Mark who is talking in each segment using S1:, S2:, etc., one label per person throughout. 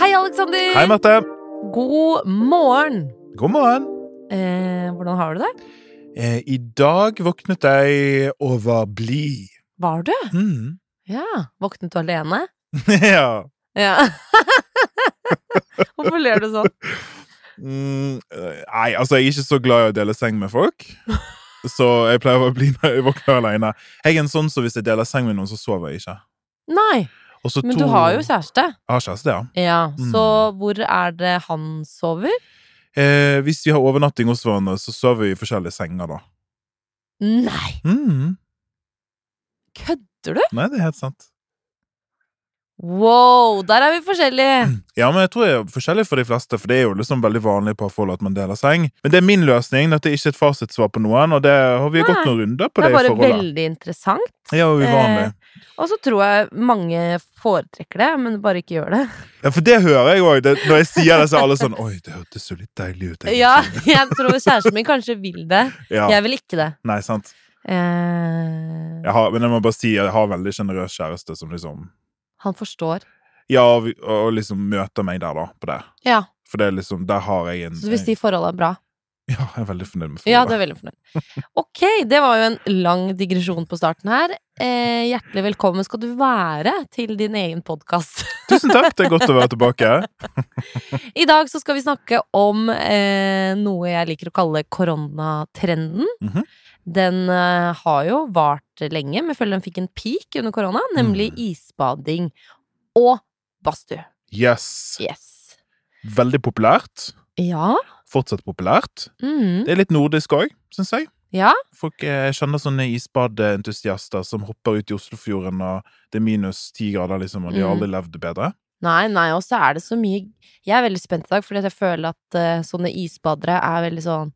S1: Aleksander!
S2: Hei, Mette.
S1: God morgen!
S2: God morgen.
S1: Eh, hvordan har du det?
S2: Eh, I dag våknet jeg og var blid.
S1: Var du?
S2: Mm.
S1: Ja. Våknet du alene?
S2: ja.
S1: Ja. Hvorfor ler du sånn?
S2: Mm, eh, nei, altså, jeg er ikke så glad i å dele seng med folk. Så jeg pleier å bli når jeg våkner alene. Jeg er en sånn som hvis jeg deler seng med noen, så sover jeg ikke.
S1: Nei,
S2: Og så
S1: men
S2: to-
S1: du har jo kjæreste.
S2: Jeg har kjæreste, ja.
S1: Ja,
S2: Mm.
S1: så hvor er det han sover?
S2: Eh, hvis vi har overnatting hos hverandre, så sover vi i forskjellige senger, da.
S1: Nei,
S2: Mm.
S1: kødder du?
S2: Nei, det er helt sant.
S1: Wow, der er vi forskjellige!
S2: Ja, men jeg tror jeg er forskjellig for de fleste, for det er jo liksom veldig vanlig på forhold at man deler seng. Men det er min løsning. Dette er ikke et fasitsvar på noen, og det har vi
S1: Nei.
S2: gått noen runder
S1: Det
S2: på
S1: er
S2: det, i
S1: bare Eh.
S2: forholdet.
S1: veldig interessant.
S2: Ja, og uvanlig.
S1: Og så tror jeg mange foretrekker det, men bare ikke gjør det.
S2: Ja, for det hører jeg òg. Når jeg sier det, så er alle sånn Oi, det hørtes jo litt deilig ut. egentlig.»
S1: Ja, jeg tror kjæresten min kanskje vil det.
S2: sånn. ja.
S1: Jeg vil ikke det.
S2: Nei, sant.
S1: Eh,
S2: Jeg har, men jeg må bare si jeg har en veldig sjenerøs kjæreste som liksom
S1: Han forstår.
S2: Ja, og, vi- og liksom møter meg der, da, på det.
S1: Ja,
S2: For det er liksom Der har jeg en
S1: Så hvis de forholdene er bra
S2: Ja, jeg er veldig fornøyd med
S1: Ja, det
S2: forholdet.
S1: er veldig fornøyd. Ok, det var jo en lang digresjon på starten her. Eh, hjertelig velkommen skal du være til din egen podkast.
S2: Tusen takk, det er godt å være tilbake.
S1: I dag så skal vi snakke om eh, noe jeg liker å kalle koronatrenden.
S2: Mhm.
S1: Den eh, har jo vart lenge, men jeg føler den fikk en peak under korona, nemlig
S2: Mm.
S1: isbading og badstue.
S2: Yes.
S1: Yes.
S2: Veldig populært.
S1: Ja.
S2: Fortsatt populært.
S1: Mm.
S2: Det er litt nordisk òg, syns jeg.
S1: Ja.
S2: Folk eh, kjenner sånne isbadeentusiaster som hopper ut i Oslofjorden, og det er minus ti grader, liksom, og de har
S1: Mm.
S2: aldri levd det bedre.
S1: Nei, nei, og så er det så mye Jeg er veldig spent i dag, fordi at jeg føler at eh, sånne isbadere er veldig sånn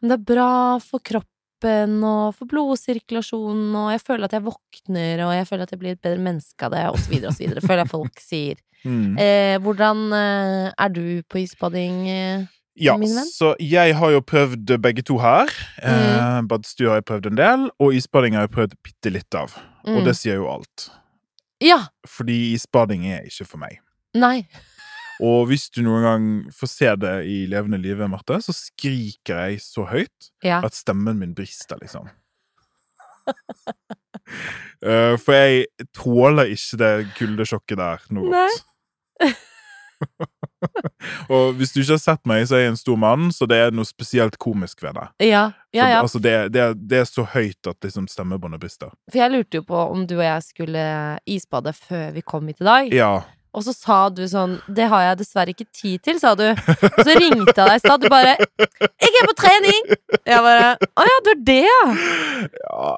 S1: Men det er bra for kroppen og for blodsirkulasjonen, og jeg føler at jeg våkner, og jeg føler at jeg blir et bedre menneske av det, og så videre og så videre. Føler jeg folk sier.
S2: Mm.
S1: Eh, hvordan eh, er du på isbading? eh?
S2: Ja,
S1: min venn?
S2: så jeg har jo prøvd begge to her. Eh,
S1: Mm.
S2: Badstue har jeg prøvd en del, og isbading har jeg prøvd bitte litt av.
S1: Mm.
S2: Og det sier jo alt.
S1: Ja!
S2: Fordi isbading er ikke for meg.
S1: Nei.
S2: Og hvis du noen gang får se det i levende live, Marte, så skriker jeg så høyt
S1: Ja.
S2: at stemmen min brister, liksom. Eh, for jeg tåler ikke det kuldesjokket der noe
S1: Nei.
S2: godt. og hvis du ikke har sett meg, så er jeg en stor mann, så det er noe spesielt komisk ved det.
S1: Ja, ja,
S2: For,
S1: ja.
S2: Altså, det, det, det er så høyt at liksom, stemmebåndet brister.
S1: For jeg lurte jo på om du og jeg skulle isbade før vi kom hit i dag.
S2: Ja.
S1: Og så sa du sånn Det har jeg dessverre ikke tid til, sa du. Og så ringte jeg deg i stad. Du bare 'Jeg er på trening!' Jeg bare 'Å ja, du er det, ja?'
S2: Ja,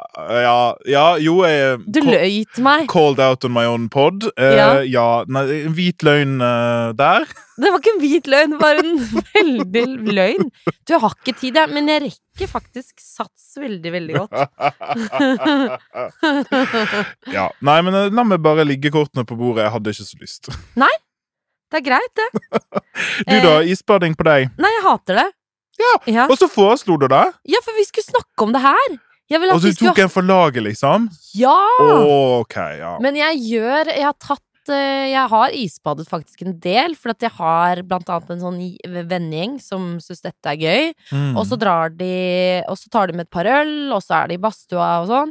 S2: ja, ja jo, jeg
S1: Du løy til meg.
S2: Called out on my own pod. Eh,
S1: Ja.
S2: ja. nei, en hvit løgn eh, der.
S1: Det var ikke en hvit løgn, det var en veldig løgn. Du jeg har ikke tid, jeg, men jeg rekker faktisk sats veldig, veldig godt.
S2: ja. Nei, men eh, la meg bare ligge kortene på bordet. Jeg hadde ikke så lyst.
S1: Det er greit, det.
S2: Du, da?
S1: Eh.
S2: Isbading på deg.
S1: Nei, jeg hater det. Ja.
S2: Og så foreslo du det!
S1: Ja, for vi skulle snakke om det her. Jeg vil
S2: Og
S1: at
S2: så
S1: vi
S2: du
S1: skulle
S2: tok en for laget, liksom?
S1: Ja!
S2: OK, ja.
S1: Men jeg gjør Jeg har tatt eh, Jeg har isbadet faktisk en del, for at jeg har blant annet en sånn i- vennegjeng som syns dette er gøy.
S2: Mm.
S1: Og så drar de Og så tar de med et par øl, og så er de i badstua og sånn.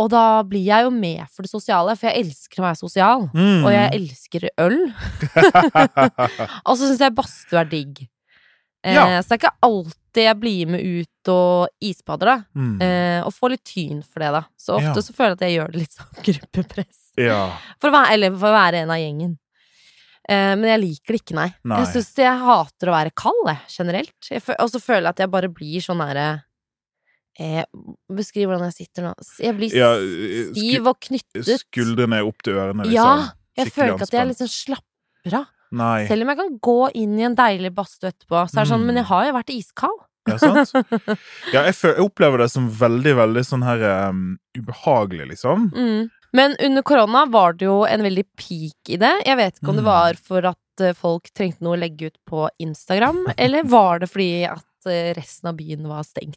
S1: Og da blir jeg jo med for det sosiale, for jeg elsker å være sosial.
S2: Mm.
S1: Og jeg elsker øl. Og så syns jeg badstue er digg. Eh,
S2: Ja.
S1: Så det er ikke alltid jeg blir med ut og isbader, da.
S2: Mm.
S1: Eh, og får litt tyn for det, da. Så ofte
S2: Ja.
S1: så føler jeg at jeg gjør det litt sånn gruppepress.
S2: Ja.
S1: For å være, eller for å være en av gjengen. Eh, men jeg liker det ikke, nei.
S2: Nei.
S1: Jeg synes jeg hater å være kald, jeg, generelt. Jeg fø- Og så føler jeg at jeg bare blir sånn derre eh, Beskriv hvordan jeg sitter nå. S- Jeg blir
S2: Ja, eh,
S1: stiv og knyttet.
S2: Skuldrene er opp til ørene, liksom.
S1: Ja, jeg
S2: Skikkelig
S1: føler ikke at jeg
S2: anspent.
S1: liksom slapper av.
S2: Nei.
S1: Selv om jeg kan gå inn i en deilig badstue etterpå, så er det sånn
S2: Mm.
S1: Men jeg har jo vært iskald.
S2: Ja, sant? Ja, jeg, føl- jeg opplever det som veldig, veldig sånn her em, ubehagelig, liksom.
S1: Mm. Men under korona var det jo en veldig peak i det. Jeg vet ikke om det
S2: Mm.
S1: var for at eh, folk trengte noe å legge ut på Instagram, eller var det fordi at eh, resten av byen var stengt?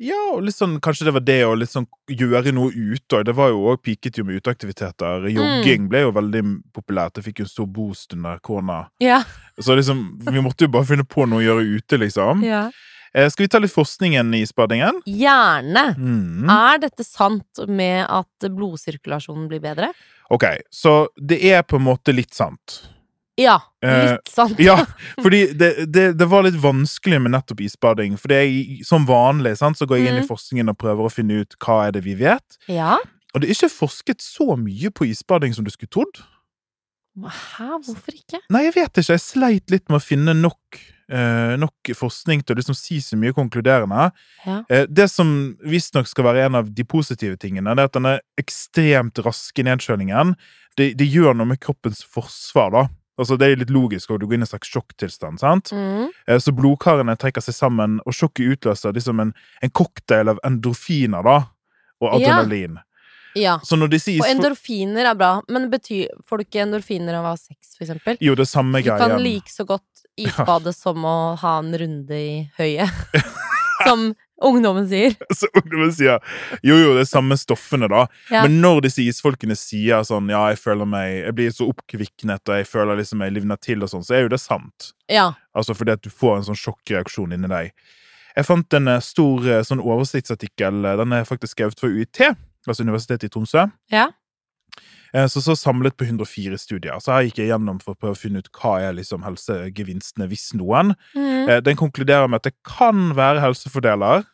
S2: Ja, og litt sånn, kanskje det var det å litt sånn gjøre noe ute. og Det var jo også, piket jo med uteaktiviteter. Jogging
S1: Mm.
S2: ble jo veldig populært. Det fikk jo en stor boost under korona.
S1: Ja.
S2: Så liksom, vi måtte jo bare finne på noe å gjøre ute, liksom.
S1: ja.
S2: Eh, skal vi ta litt forskningen i spaddingen?
S1: Gjerne.
S2: Mm.
S1: Er dette sant med at blodsirkulasjonen blir bedre?
S2: Ok, så det er på en måte litt sant.
S1: Ja.
S2: Eh,
S1: Litt sant.
S2: Ja, fordi det, det, det var litt vanskelig med nettopp isbading. For det er som vanlig sant, så går jeg inn i forskningen og prøver å finne ut hva er det vi vet.
S1: Ja.
S2: Og det er ikke forsket så mye på isbading som du skulle trodd.
S1: Hæ, hvorfor ikke?
S2: Nei, jeg vet ikke. Jeg sleit litt med å finne nok, eh, nok forskning til å liksom si så mye konkluderende.
S1: Ja.
S2: Eh, det som visstnok skal være en av de positive tingene, det er at denne ekstremt raske nedkjølingen det, det gjør noe med kroppens forsvar. da. Altså, Det er litt logisk, og du går inn i en slags sjokktilstand. sant?
S1: Mm.
S2: Eh, Så blodkarene trekker seg sammen, og sjokket utløser liksom en, en cocktail av endorfiner da, og
S1: Ja.
S2: adrenalin.
S1: ja.
S2: Så når de sier...
S1: Og endorfiner er bra, men betyr, får du ikke endorfiner av å ha sex, for eksempel?
S2: Jo, det er samme
S1: Du kan
S2: greien.
S1: like så godt isbade som å ha en runde i høyet, som ungdommen sier.
S2: Så ungdommen sier, jo, jo, det er samme stoffene da.
S1: Ja.
S2: Men når disse isfolkene sier sånn, ja, jeg føler meg, jeg blir så oppkviknet, og jeg føler liksom jeg livner til og sånn, så er jo det sant.
S1: Ja.
S2: Altså fordi at du får en sånn sjokkreaksjon inni deg. Jeg fant en eh, stor eh, sånn oversiktsartikkel, eh, den er faktisk skrevet for UiT, altså Universitetet i Tromsø.
S1: Ja.
S2: Eh, Så, så samlet på 104 studier. Så her gikk jeg gjennom for å prøve å finne ut hva er liksom helsegevinstene, hvis noen.
S1: Mm.
S2: Eh, Den konkluderer med at det kan være helsefordeler,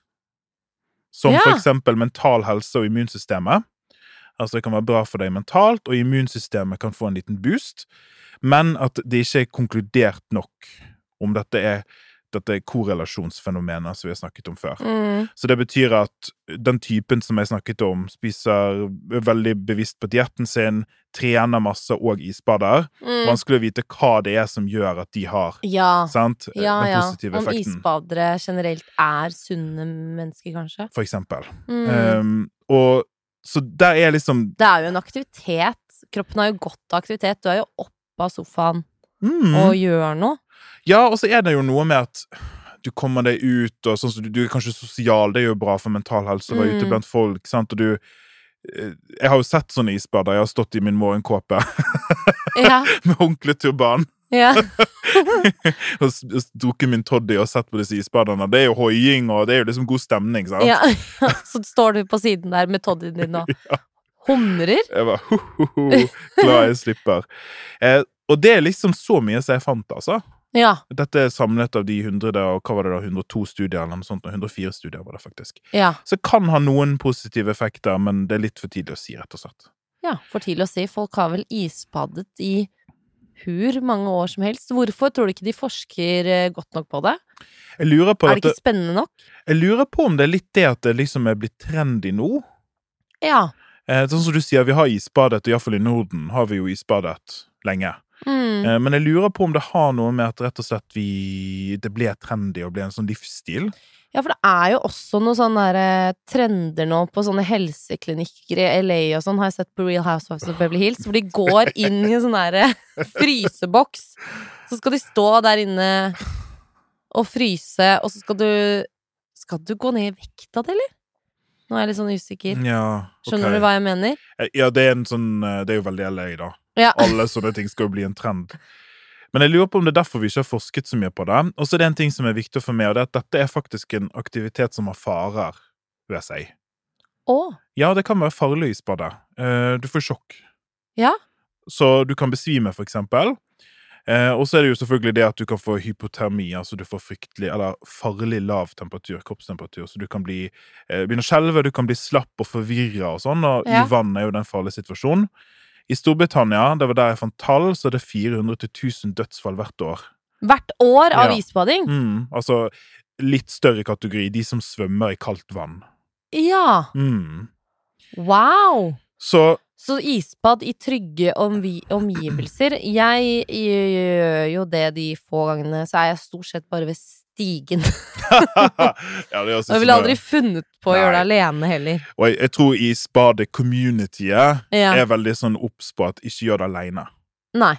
S2: som
S1: Ja.
S2: for eksempel mental helse og immunsystemet. Altså det kan være bra for deg mentalt, og immunsystemet kan få en liten boost, men at det ikke er konkludert nok om dette er dette korrelasjonsfenomenet som vi har snakket om før.
S1: Mm.
S2: Så det betyr at den typen som jeg snakket om, spiser er veldig bevisst på dietten sin, trener masse og isbader.
S1: Mm.
S2: Vanskelig å vite hva det er som gjør at de har
S1: Ja.
S2: sant?
S1: Ja,
S2: den
S1: ja.
S2: positive
S1: Om
S2: effekten,
S1: isbadere generelt er sunne mennesker, kanskje.
S2: for eksempel.
S1: Mm.
S2: Um, og så der er liksom
S1: Det er jo en aktivitet. Kroppen har jo godt av aktivitet. Du er jo oppe av sofaen
S2: mm,
S1: og gjør noe.
S2: Ja, og så er det jo noe med at du kommer deg ut, og sånn som du, du er kanskje sosial, det er jo bra for mental helse å være
S1: Mm.
S2: ute blant folk, sant, og du eh, jeg har jo sett sånne isbader. Jeg har stått i min morgenkåpe
S1: Ja.
S2: med håndkleturban
S1: ja.
S2: og s- s- drukket min toddy og sett på disse isbaderne. Det er jo hoiing, og det er jo liksom god stemning. sant?
S1: ja. Så står du på siden der med toddyen din og humrer.
S2: Jeg var ho, ho, ho, glad jeg slipper. Eh, og det er liksom så mye som jeg fant, altså.
S1: Ja.
S2: Dette er samlet av de 100, og hva var det da, 102 studier, eller noe sånt, og 104 studier var det faktisk.
S1: ja.
S2: Så det kan ha noen positive effekter, men det er litt for tidlig å si, rett og slett.
S1: Ja, for tidlig å si. Folk har vel isbadet i hur mange år som helst. Hvorfor tror du ikke de forsker eh, godt nok på det?
S2: Jeg lurer på,
S1: Er det
S2: at det,
S1: ikke spennende nok?
S2: jeg lurer på om det er litt det at det liksom er blitt trendy nå.
S1: Ja.
S2: Eh, sånn som du sier, vi har isbadet, og iallfall i Norden har vi jo isbadet lenge.
S1: Mm.
S2: Eh, men jeg lurer på om det har noe med at rett og slett vi Det ble trendy og ble en sånn livsstil.
S1: Ja, for det er jo også noen sånne der, eh, trender nå på sånne helseklinikker i LA og sånn, har jeg sett på Real Housewives of Beverly Hills, hvor de går inn i en sånn der eh, fryseboks. Så skal de stå der inne og fryse, og så skal du Skal du gå ned i vekta di, eller? Nå er jeg litt sånn usikker.
S2: Ja,
S1: Skjønner
S2: Mm, ok.
S1: du hva jeg mener?
S2: Eh, Ja, det er, en sånn, eh, det er jo veldig LA, da.
S1: Ja.
S2: Alle sånne ting skal jo bli en trend. Men jeg lurer på om det er derfor vi ikke har forsket så mye på det. Og så er det en ting som er viktig å få med, og det er at dette er faktisk en aktivitet som har farer ved seg.
S1: Å!
S2: Ja, det kan være farlig å isbade. Eh, Du får sjokk.
S1: Ja.
S2: Så du kan besvime, for eksempel. Eh, Og så er det jo selvfølgelig det at du kan få hypotermi, altså du får fryktelig, eller farlig lav temperatur, kroppstemperatur, så du kan bli, eh, begynne å skjelve, du kan bli slapp og forvirra og sånn, og
S1: Ja.
S2: i vann er jo den farlige situasjonen. I Storbritannia, det var der jeg fant tall, så er det 400 til 1000 dødsfall hvert år.
S1: Hvert år av
S2: Ja.
S1: isbading?
S2: Mm, altså litt større kategori, de som svømmer i kaldt vann.
S1: Ja!
S2: Mm.
S1: Wow!
S2: Så
S1: Så isbad i trygge omgi omgivelser Jeg gjør jo det de få gangene, så er jeg stort sett bare ved stigen.
S2: ja, det er også
S1: Og jeg ville aldri funnet på å
S2: Nei.
S1: gjøre det alene heller.
S2: Og jeg, jeg tror i spadet-communityet
S1: Ja.
S2: er veldig sånn obs på at ikke gjør det aleine.
S1: Nei.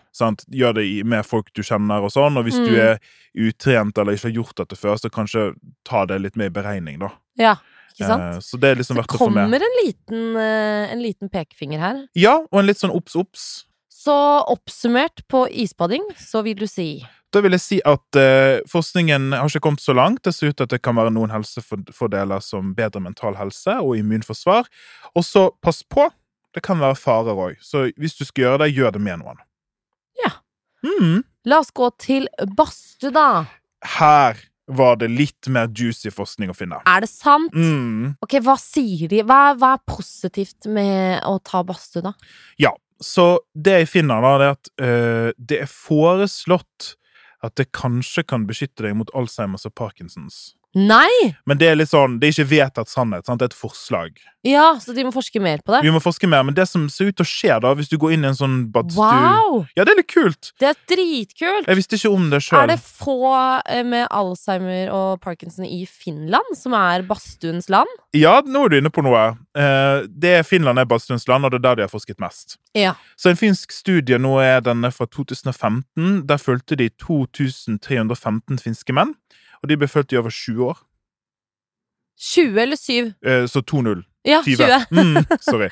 S2: Gjør det i- med folk du kjenner og sånn, og hvis du
S1: Mm.
S2: er utrent eller ikke har gjort dette før, så kanskje ta det litt med i beregning, da.
S1: Ja. Ikke sant?
S2: Eh, Så det er liksom
S1: Så
S2: verdt å få med.
S1: kommer en liten, eh, en liten pekefinger her.
S2: Ja, og en litt sånn obs-obs.
S1: Så oppsummert på isbading, så vil du si
S2: Da vil jeg si at eh, forskningen har ikke kommet så langt. Det ser ut til at det kan være noen helsefordeler som bedre mental helse og immunforsvar. Og så pass på, det kan være farer òg. Så hvis du skal gjøre det, gjør det med noen.
S1: Ja.
S2: Mm.
S1: La oss gå til badstue, da.
S2: Her var det litt mer juicy forskning å finne.
S1: Er det sant?
S2: Mm.
S1: Ok, hva sier de? Hva, hva er positivt med å ta badstue, da?
S2: Ja, så det jeg finner da, det er at eh, det er foreslått at det kanskje kan beskytte deg mot Alzheimers og Parkinsons.
S1: Nei!
S2: Men det er litt sånn, det er ikke vedtatt sannhet, sant? det er et forslag.
S1: Ja, så de må forske mer på det?
S2: Vi må forske mer, men det som ser ut til å skje da, hvis du går inn i en sånn badstue
S1: Wow!
S2: Ja, det er litt kult!
S1: Det er dritkult!
S2: Jeg visste ikke om det
S1: Er
S2: sjøl.
S1: det få eh, med Alzheimer og Parkinson i Finland, som er badstuens land?
S2: Ja, nå er du inne på noe. Eh, det er Finland er badstuens land, og det er der de har forsket mest.
S1: Ja.
S2: Så en finsk studie nå er denne fra 2015. Der fulgte de 2315 finske menn, og de ble fulgt i over 20 år.
S1: 20 eller 7?
S2: Eh, Så 2-0.
S1: Ja,
S2: 20.
S1: 20.
S2: Mm, sorry.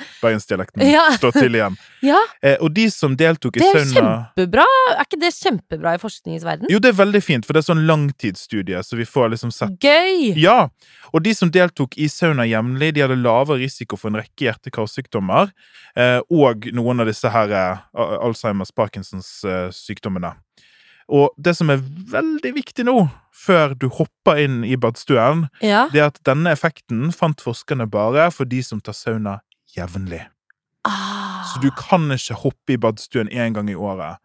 S2: Bergensdialekten
S1: Ja.
S2: står til igjen.
S1: Ja.
S2: Eh, Og de som deltok i
S1: Det er
S2: sauna
S1: kjempebra! Er ikke det kjempebra i forskningens verden?
S2: Jo, det er veldig fint, for det er sånn langtidsstudie, så vi får liksom sett
S1: Gøy!
S2: Ja! Og de som deltok i sauna jevnlig, de hadde lavere risiko for en rekke hjerte-karsykdommer, eh, og noen av disse her eh, Alzheimers, Parkinsons eh, sykdommene. Og det som er veldig viktig nå, før du hopper inn i badstuen,
S1: Ja.
S2: det er at denne effekten fant forskerne bare for de som tar sauna jevnlig.
S1: Ah.
S2: Så du kan ikke hoppe i badstuen én gang i året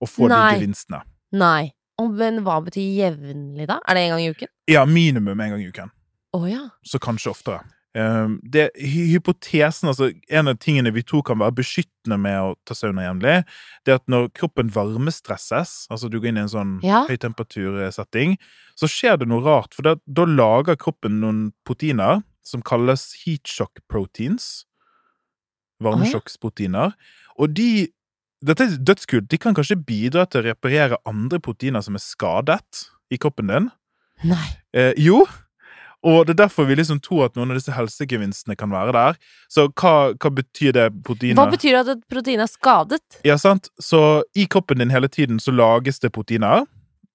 S2: og få
S1: Nei.
S2: de gevinstene.
S1: Nei. Å, men hva betyr jevnlig, da? Er det en gang i uken?
S2: Ja, minimum én gang i uken.
S1: Å ja.
S2: så kanskje oftere. Ehm, Det, hy- hypotesen, altså En av tingene vi tror kan være beskyttende med å ta sauna jevnlig, det er at når kroppen varmestresses, altså du går inn i en sånn
S1: Ja.
S2: høytemperatursetting, så skjer det noe rart. For da- da lager kroppen noen proteiner som kalles heat shock proteins. Varmesjokksproteiner. Og de Dette er dødskult. De kan kanskje bidra til å reparere andre proteiner som er skadet i kroppen din.
S1: Nei.
S2: Eh, jo. Og det er derfor vi liksom tror at noen av disse helsegevinstene kan være der. Så hva, hva betyr det proteinet?
S1: Hva betyr det at et protein er skadet?
S2: Ja, sant? Så i kroppen din hele tiden så lages det proteiner.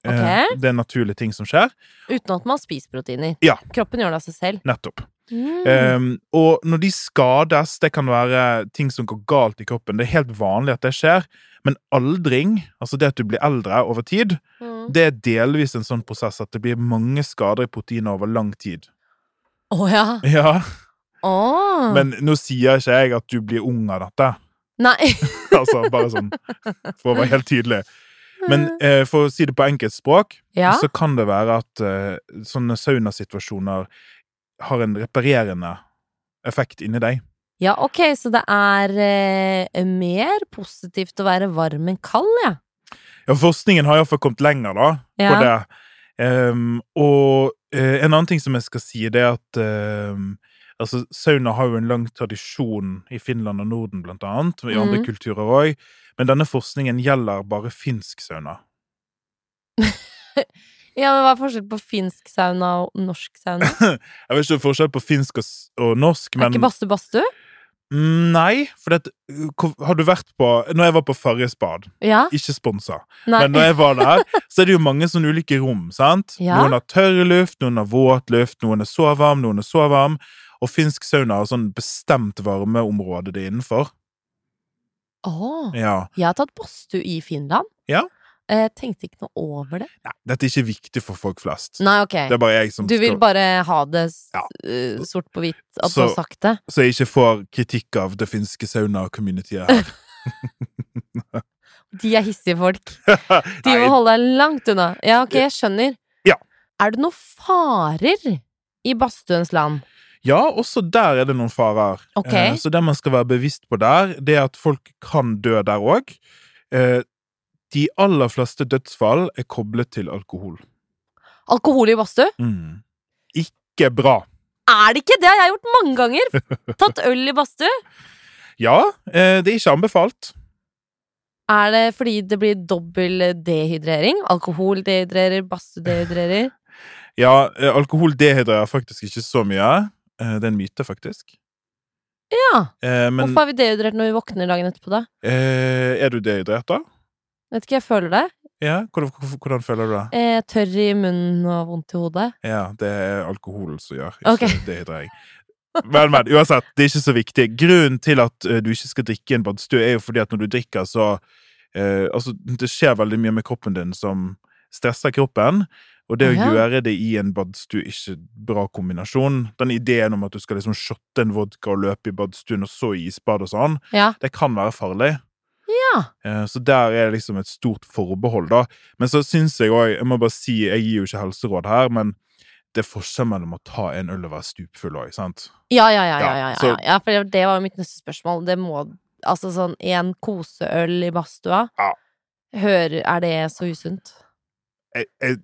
S2: Eh,
S1: Ok.
S2: det er naturlige ting som skjer.
S1: Uten at man spiser proteiner.
S2: Ja.
S1: Kroppen gjør det av seg selv.
S2: Nettopp.
S1: Mm.
S2: Eh, og når de skades, det kan være ting som går galt i kroppen. Det er helt vanlig at det skjer. Men aldring, altså det at du blir eldre over tid,
S1: Mm.
S2: det er delvis en sånn prosess at det blir mange skader i proteiner over lang tid.
S1: Å ja.
S2: Ja,
S1: Å.
S2: Men nå sier ikke jeg at du blir ung av dette.
S1: Nei.
S2: Altså, bare sånn, For å være helt tydelig. Men eh, for å si det på enkelt språk,
S1: ja.
S2: så kan det være at eh, sånne saunasituasjoner har en reparerende effekt inni deg.
S1: ja, ok, så det er eh, mer positivt å være varm enn kald, ja.
S2: Ja, forskningen har iallfall kommet lenger da, på
S1: Ja.
S2: det. Ehm, og eh, en annen ting som jeg skal si, det er at ehm, altså, sauna har jo en lang tradisjon i Finland og Norden, blant annet, og i andre
S1: Mhm.
S2: kulturer òg. Men denne forskningen gjelder bare finsk sauna.
S1: Ja, men Hva er forskjellen på finsk sauna og norsk sauna?
S2: Jeg vet ikke om forskjell på finsk og, s- og norsk,
S1: Er
S2: men
S1: ikke badstue badstue?
S2: Mm, Nei, for det, har du vært på Når jeg var på Farris bad,
S1: Ja.
S2: ikke sponsa,
S1: Nei.
S2: men når jeg var der, så er det jo mange sånne ulike rom, sant?
S1: Ja.
S2: Noen har tørr luft, noen har våt luft, noen er sovevarm, noen er sovevarm. Og finsk sauna har sånn bestemt varmeområde det er innenfor.
S1: Å.
S2: Ja.
S1: Jeg har tatt badstue i Finland.
S2: Ja.
S1: Eh, tenkte ikke noe over det.
S2: Nei, dette er ikke viktig for folk flest.
S1: Nei, ok.
S2: Det er bare jeg som
S1: Du vil
S2: skal-
S1: bare ha det s-
S2: Ja.
S1: eh, sort på hvitt, at
S2: Så-
S1: du har sagt det?
S2: Så jeg ikke får kritikk av det finske sauna-communityet her.
S1: De er hissige folk. De må
S2: Nei,
S1: holde deg langt unna. Ja, ok, jeg skjønner.
S2: Ja.
S1: Er det noen farer i badstuens land?
S2: Ja, også der er det noen farer.
S1: Ok.
S2: Eh, så det man skal være bevisst på der, det er at folk kan dø der òg. Eh, de aller fleste dødsfall er koblet til alkohol.
S1: Alkohol i badstue?
S2: Ikke bra.
S1: Er det ikke det? Jeg har gjort mange ganger. Tatt øl i badstue.
S2: Ja, eh, det er ikke anbefalt.
S1: Er det fordi det blir dobbel dehydrering? Alkohol dehydrerer, badstue dehydrerer.
S2: Ja, eh, alkohol dehydrerer faktisk ikke så mye. Eh, Det er en myte, faktisk.
S1: Ja.
S2: Eh, Men
S1: Hvorfor er vi dehydrert når vi våkner dagen etterpå, da?
S2: eh, er du dehydrert, da?
S1: Vet ikke, jeg føler det.
S2: Ja, hvordan, hvordan- hvordan føler du det?
S1: Eh, tørr i munnen og vondt i hodet.
S2: Ja, det er alkoholen som gjør, ikke
S1: Ok.
S2: dehydrering. Men, men uansett, det er ikke så viktig. Grunnen til at eh, du ikke skal drikke en badstue, er jo fordi at når du drikker, så eh, Altså, det skjer veldig mye med kroppen din som stresser kroppen. Og det å
S1: Ja.
S2: gjøre det i en badstue ikke bra kombinasjon. Den ideen om at du skal liksom shotte en vodka og løpe i badstuen og så i isbad og sånn,
S1: Ja.
S2: det kan være farlig.
S1: Ja.
S2: Eh, Så der er det liksom et stort forbehold, da. Men så syns jeg òg Jeg må bare si, jeg gir jo ikke helseråd her, men det er forskjell mellom å ta en øl og være stupfull òg, sant?
S1: Ja, ja, ja. ja,
S2: Ja,
S1: ja, ja,
S2: så-
S1: ja for det var jo mitt neste spørsmål. Det må Altså sånn én koseøl i badstua.
S2: Ja.
S1: Hør, er det så usunt?
S2: Jeg, jeg,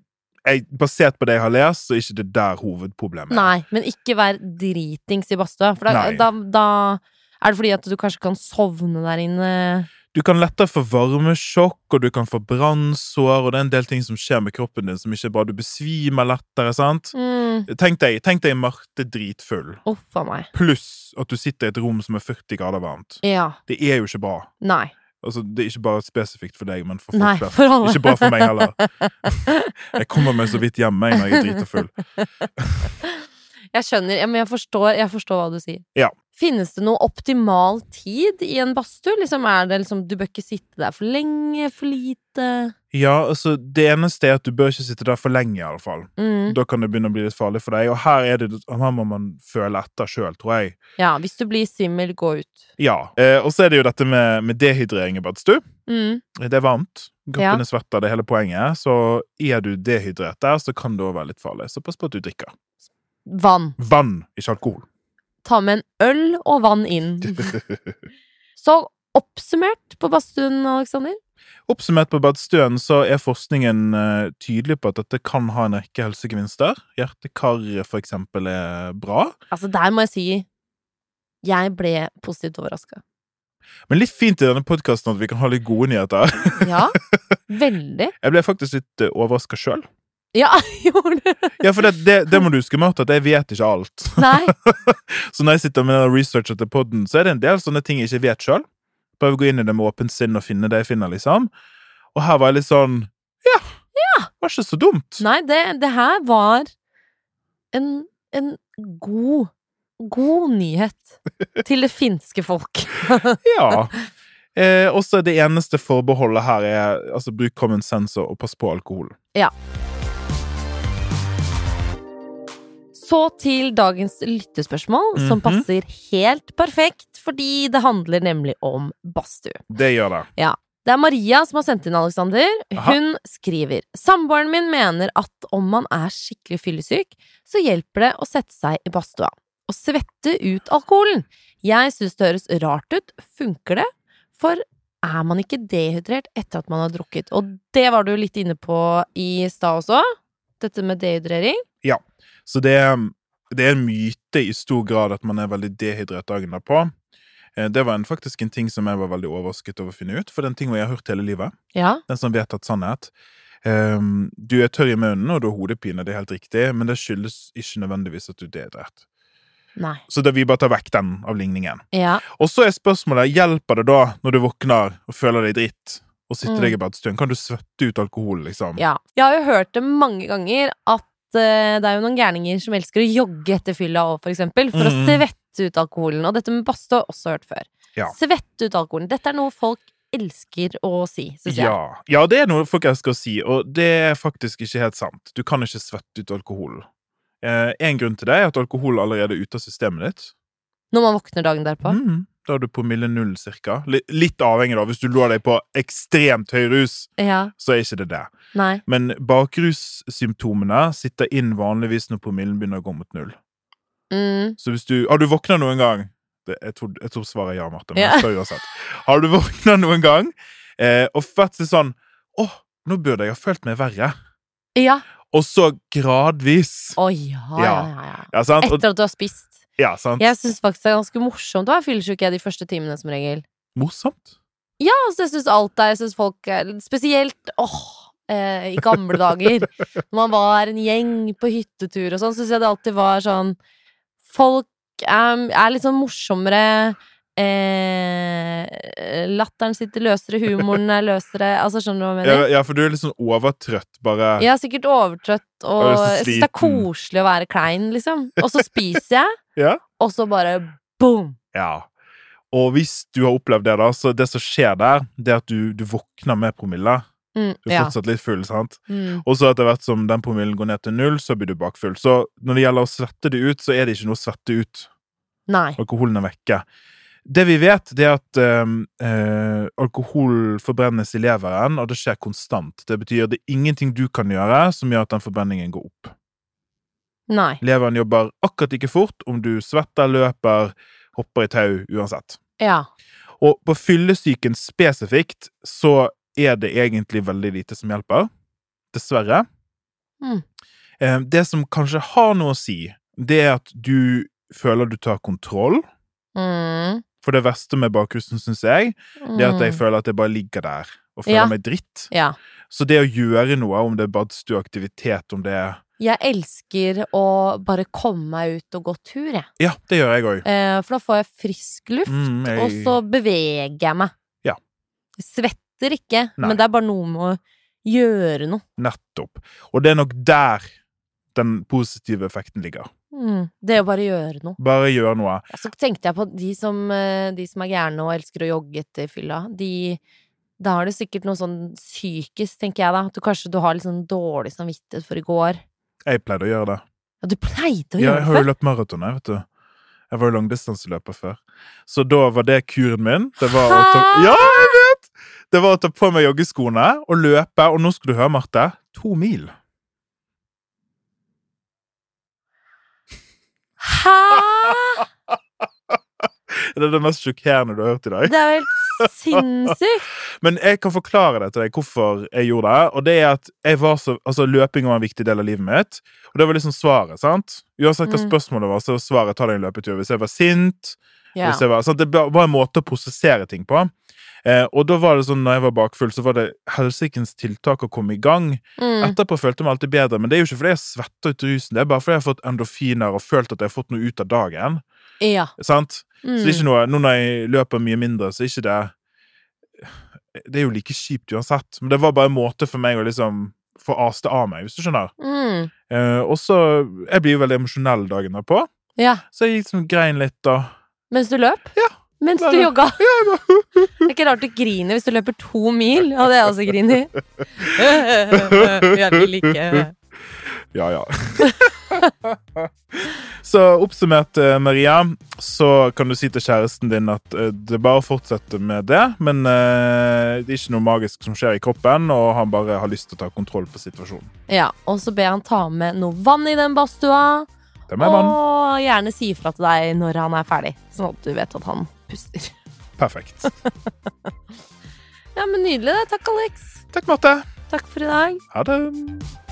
S2: jeg, basert på det jeg har lest, så er ikke det der hovedproblemet. er.
S1: Nei, men ikke vær dritings i badstua. For da,
S2: Nei.
S1: da, da er det fordi at du kanskje kan sovne der inne.
S2: Du kan lettere få varmesjokk, og du kan få brannsår, og det er en del ting som skjer med kroppen din som ikke er bra. Du besvimer lettere, sant?
S1: Mm.
S2: Tenk deg, tenk deg Marte dritfull,
S1: Uff a meg.
S2: pluss at du sitter i et rom som er 40 grader varmt.
S1: Ja.
S2: Det er jo ikke bra.
S1: Nei.
S2: Altså, det er ikke bare spesifikt for deg, men for folk
S1: Nei,
S2: flest.
S1: for alle.
S2: Ikke bra for meg heller. Jeg kommer meg så vidt hjemme jeg, når jeg er drita full.
S1: Jeg skjønner, ja, men jeg forstår, jeg forstår hva du sier.
S2: Ja.
S1: Finnes det noe optimal tid i en badstue? Liksom, er det liksom, du bør ikke sitte der for lenge, for lite?
S2: Ja, altså, det eneste er at du bør ikke sitte der for lenge, i alle fall.
S1: Mm.
S2: Da kan det begynne å bli litt farlig for deg, og her, er det, her må man føle etter sjøl, tror jeg.
S1: Ja, hvis du blir svimmel, gå ut.
S2: Ja. Eh, og så er det jo dette med, med dehydrering i badstue.
S1: Mm.
S2: Det er varmt.
S1: Ja.
S2: Kroppen er svetter, det er hele poenget. Så er du dehydrert der, så kan det også være litt farlig. Så pass på at du drikker.
S1: Vann.
S2: Vann, ikke alkohol.
S1: Ta med en øl og vann inn. Så oppsummert på badstuen, Aleksander.
S2: Oppsummert på badstuen så er forskningen eh, tydelig på at dette kan ha en rekke helsegevinster. Hjertekar for eksempel er bra.
S1: Altså, der må jeg si jeg ble positivt overraska.
S2: Men litt fint i denne podkasten at vi kan ha litt gode nyheter.
S1: Ja, veldig.
S2: Jeg ble faktisk litt uh, overraska sjøl.
S1: Ja, gjorde du?
S2: Ja, for det, det, det må du huske, Marte, at jeg vet ikke alt.
S1: Nei.
S2: Så når jeg sitter med den researchen til podden, så er det en del sånne ting jeg ikke vet sjøl. Prøver å gå inn i det med åpent sinn og finne det jeg finner, liksom. Og her var jeg litt sånn Ja, var ikke så dumt.
S1: Nei, det, det her var en, en god God nyhet til det finske folk.
S2: Ja. Eh, også det eneste forbeholdet her er altså bruk common sense og pass på alkohol.
S1: Så til dagens lyttespørsmål, som
S2: Mhm.
S1: passer helt perfekt, fordi det handler nemlig om badstue.
S2: Det gjør det.
S1: Det er Maria som har sendt inn, Alexander.
S2: Aha.
S1: Hun skriver Samboeren min mener at om man er skikkelig fyllesyk, så hjelper det å sette seg i badstua og svette ut alkoholen. Jeg syns det høres rart ut. Funker det? For er man ikke dehydrert etter at man har drukket? Og det var du litt inne på i stad også. Dette med dehydrering.
S2: Så det, det er en myte i stor grad at man er veldig dehydrert dagen derpå. Eh, Det var en, faktisk en ting som jeg var veldig overrasket over å finne ut, for den ting jeg har hørt hele livet.
S1: Ja.
S2: Den som vet at sannhet. Ehm, du er tørr i munnen, og du har hodepine, det er helt riktig, men det skyldes ikke nødvendigvis at du er dehydrert.
S1: Nei.
S2: Så da vi bare tar vekk den av ligningen.
S1: Ja.
S2: Og så er spørsmålet, hjelper det da, når du våkner og føler deg dritt, og sitter
S1: Mm.
S2: deg i badstuen? Kan du svette ut alkohol, liksom?
S1: ja. Jeg har jo hørt det mange ganger at eh, det er jo noen gærninger som elsker å jogge etter fylla òg, for eksempel. For å
S2: Mm.
S1: svette ut alkoholen. Og dette med badstue har jeg også hørt før.
S2: Ja.
S1: Svette ut alkoholen. Dette er noe folk elsker å si, syns jeg.
S2: Ja. ja, det er noe folk elsker å si, og det er faktisk ikke helt sant. Du kan ikke svette ut alkohol. Eh, en grunn til det er at alkohol allerede er ute av systemet ditt.
S1: Når man våkner dagen derpå.
S2: Mhm. Da er du promille null, cirka. Li- Litt avhengig, da. Hvis du lå deg på ekstremt høy rus,
S1: Ja.
S2: så er ikke det det.
S1: Nei.
S2: Men bakrussymptomene sitter inn vanligvis når promillen begynner å gå mot null.
S1: Mm.
S2: Så hvis du Har du våkna noen gang det, jeg, tror, jeg tror svaret er ja, Marte. Men
S1: Ja.
S2: jeg spør uansett. Har du våkna noen gang eh, og vært sånn Å, nå burde jeg ha følt meg verre.
S1: Ja.
S2: Og så gradvis.
S1: Å ja, ja,
S2: Ja. Altså-
S1: ja. ja.
S2: Ja, sant? Og,
S1: Etter at du har spist.
S2: ja, sant?
S1: Jeg syns faktisk det er ganske morsomt å være fyllesyk jeg, de første timene, som regel.
S2: Morsomt.
S1: Ja, altså, jeg syns alt er Jeg syns folk er Spesielt åh, eh, i gamle dager, når man var en gjeng på hyttetur og sånn, syns jeg det alltid var sånn Folk er, er litt sånn morsommere. Eh, latteren sitter løsere, humoren er løsere. Altså, skjønner du hva jeg mener?
S2: Ja, ja, for du er litt sånn overtrøtt, bare.
S1: Jeg er sikkert overtrøtt, og
S2: Og er så
S1: jeg synes det er
S2: sliten.
S1: koselig å være klein, liksom. Og så spiser jeg,
S2: Ja.
S1: og så bare boom!
S2: Ja. Og hvis du har opplevd det, da, så det som skjer der, det er at du, du våkner med promille.
S1: Mm,
S2: Du er
S1: ja.
S2: fortsatt litt full, sant?
S1: Mm.
S2: Og så etter hvert som den promillen går ned til null, så blir du bakfull. Så når det gjelder å svette det ut, så er det ikke noe å svette ut.
S1: Nei.
S2: Alkoholen er vekke. Det vi vet, det er at eh, eh, alkohol forbrennes i leveren, og det skjer konstant. Det betyr det er ingenting du kan gjøre som gjør at den forbrenningen går opp.
S1: Nei.
S2: Leveren jobber akkurat like fort om du svetter, løper, hopper i tau, uansett.
S1: Ja.
S2: Og på fyllesyken spesifikt så er det egentlig veldig lite som hjelper. Dessverre.
S1: Mm.
S2: Eh, Det som kanskje har noe å si, det er at du føler du tar kontroll.
S1: Mm.
S2: For det verste med bakrusen, syns jeg, det er at jeg
S1: Mm.
S2: føler at jeg bare ligger der og føler
S1: Ja.
S2: meg dritt.
S1: Ja.
S2: Så det å gjøre noe, om det er badstueaktivitet, om det er
S1: Jeg elsker å bare komme meg ut og gå tur, jeg.
S2: Ja, det gjør jeg òg.
S1: Eh, for da får jeg frisk luft,
S2: Mm, jeg-
S1: og så beveger jeg meg.
S2: Ja.
S1: Jeg Svetter ikke,
S2: Nei.
S1: men det er bare noe med å gjøre noe.
S2: Nettopp. Og det er nok der den positive effekten ligger.
S1: Mm. Det å bare gjøre noe.
S2: Bare gjør noe.
S1: Ja, Så tenkte jeg på de som, eh, de som er gærne og elsker å jogge etter fylla. De, da har du sikkert noe sånn psykisk, tenker jeg da. At du kanskje du har litt sånn dårlig samvittighet for i går.
S2: Jeg pleide å gjøre det.
S1: Ja, du pleide å
S2: Ja,
S1: gjøre
S2: jeg
S1: det
S2: har jo
S1: før.
S2: løpt maraton, jeg, vet du. Jeg var jo langdistanseløper før. Så da var det kuren min. Det var å ta,
S1: Hæ?
S2: ja, jeg vet! Det var å ta på meg joggeskoene og løpe. Og nå skal du høre, Marte, to mil.
S1: Hæ?!
S2: Det er det mest sjokkerende du har hørt i dag.
S1: Det er jo helt sinnssykt!
S2: Men jeg kan forklare det til deg hvorfor jeg gjorde det. Og det er at jeg var så, altså Løping var en viktig del av livet mitt. Og det var liksom svaret. sant? Uansett hva
S1: Mm.
S2: spørsmålet var, så var svaret ta deg en løpetur. Hvis jeg var sint,
S1: Ja.
S2: Hvis jeg var, sant? Det ba- var en måte å prosessere ting på. Eh, og da var det sånn, når jeg var bakfull, så var det helsikens tiltak å komme i gang.
S1: Mm.
S2: Etterpå følte jeg meg alltid bedre, men det er jo ikke fordi jeg svetter ut rusen. Det er bare fordi jeg har fått endorfiner og følt at jeg har fått noe ut av dagen.
S1: ja.
S2: Sant? Så det
S1: Mm.
S2: er ikke noe, nå når jeg løper mye mindre, så er ikke det Det er jo like kjipt uansett. Men det var bare en måte for meg å liksom få ast det av meg, hvis du skjønner.
S1: Mm.
S2: Eh, og så Jeg blir jo veldig emosjonell dagen derpå,
S1: ja.
S2: så jeg liksom grein litt, da.
S1: Mens du løp?
S2: Ja.
S1: Mens du
S2: Bare-
S1: jogga? Det er ikke rart du griner hvis du løper to mil. Og det er jeg også griner. Jeg vil ikke
S2: Ja, ja. så oppsummert, eh, Maria, så kan du si til kjæresten din at eh, det bare fortsetter med det, men eh, det er ikke noe magisk som skjer i kroppen, og han bare har lyst til å ta kontroll på situasjonen.
S1: Ja, og så ber han ta med noe vann i den badstua.
S2: Det er meg, mann.
S1: Og gjerne si ifra til deg når han er ferdig, sånn at du vet at han puster.
S2: Perfekt.
S1: Ja, men Nydelig, det. Takk, Alex.
S2: Takk, Marte.
S1: Takk for i dag.
S2: Ha det.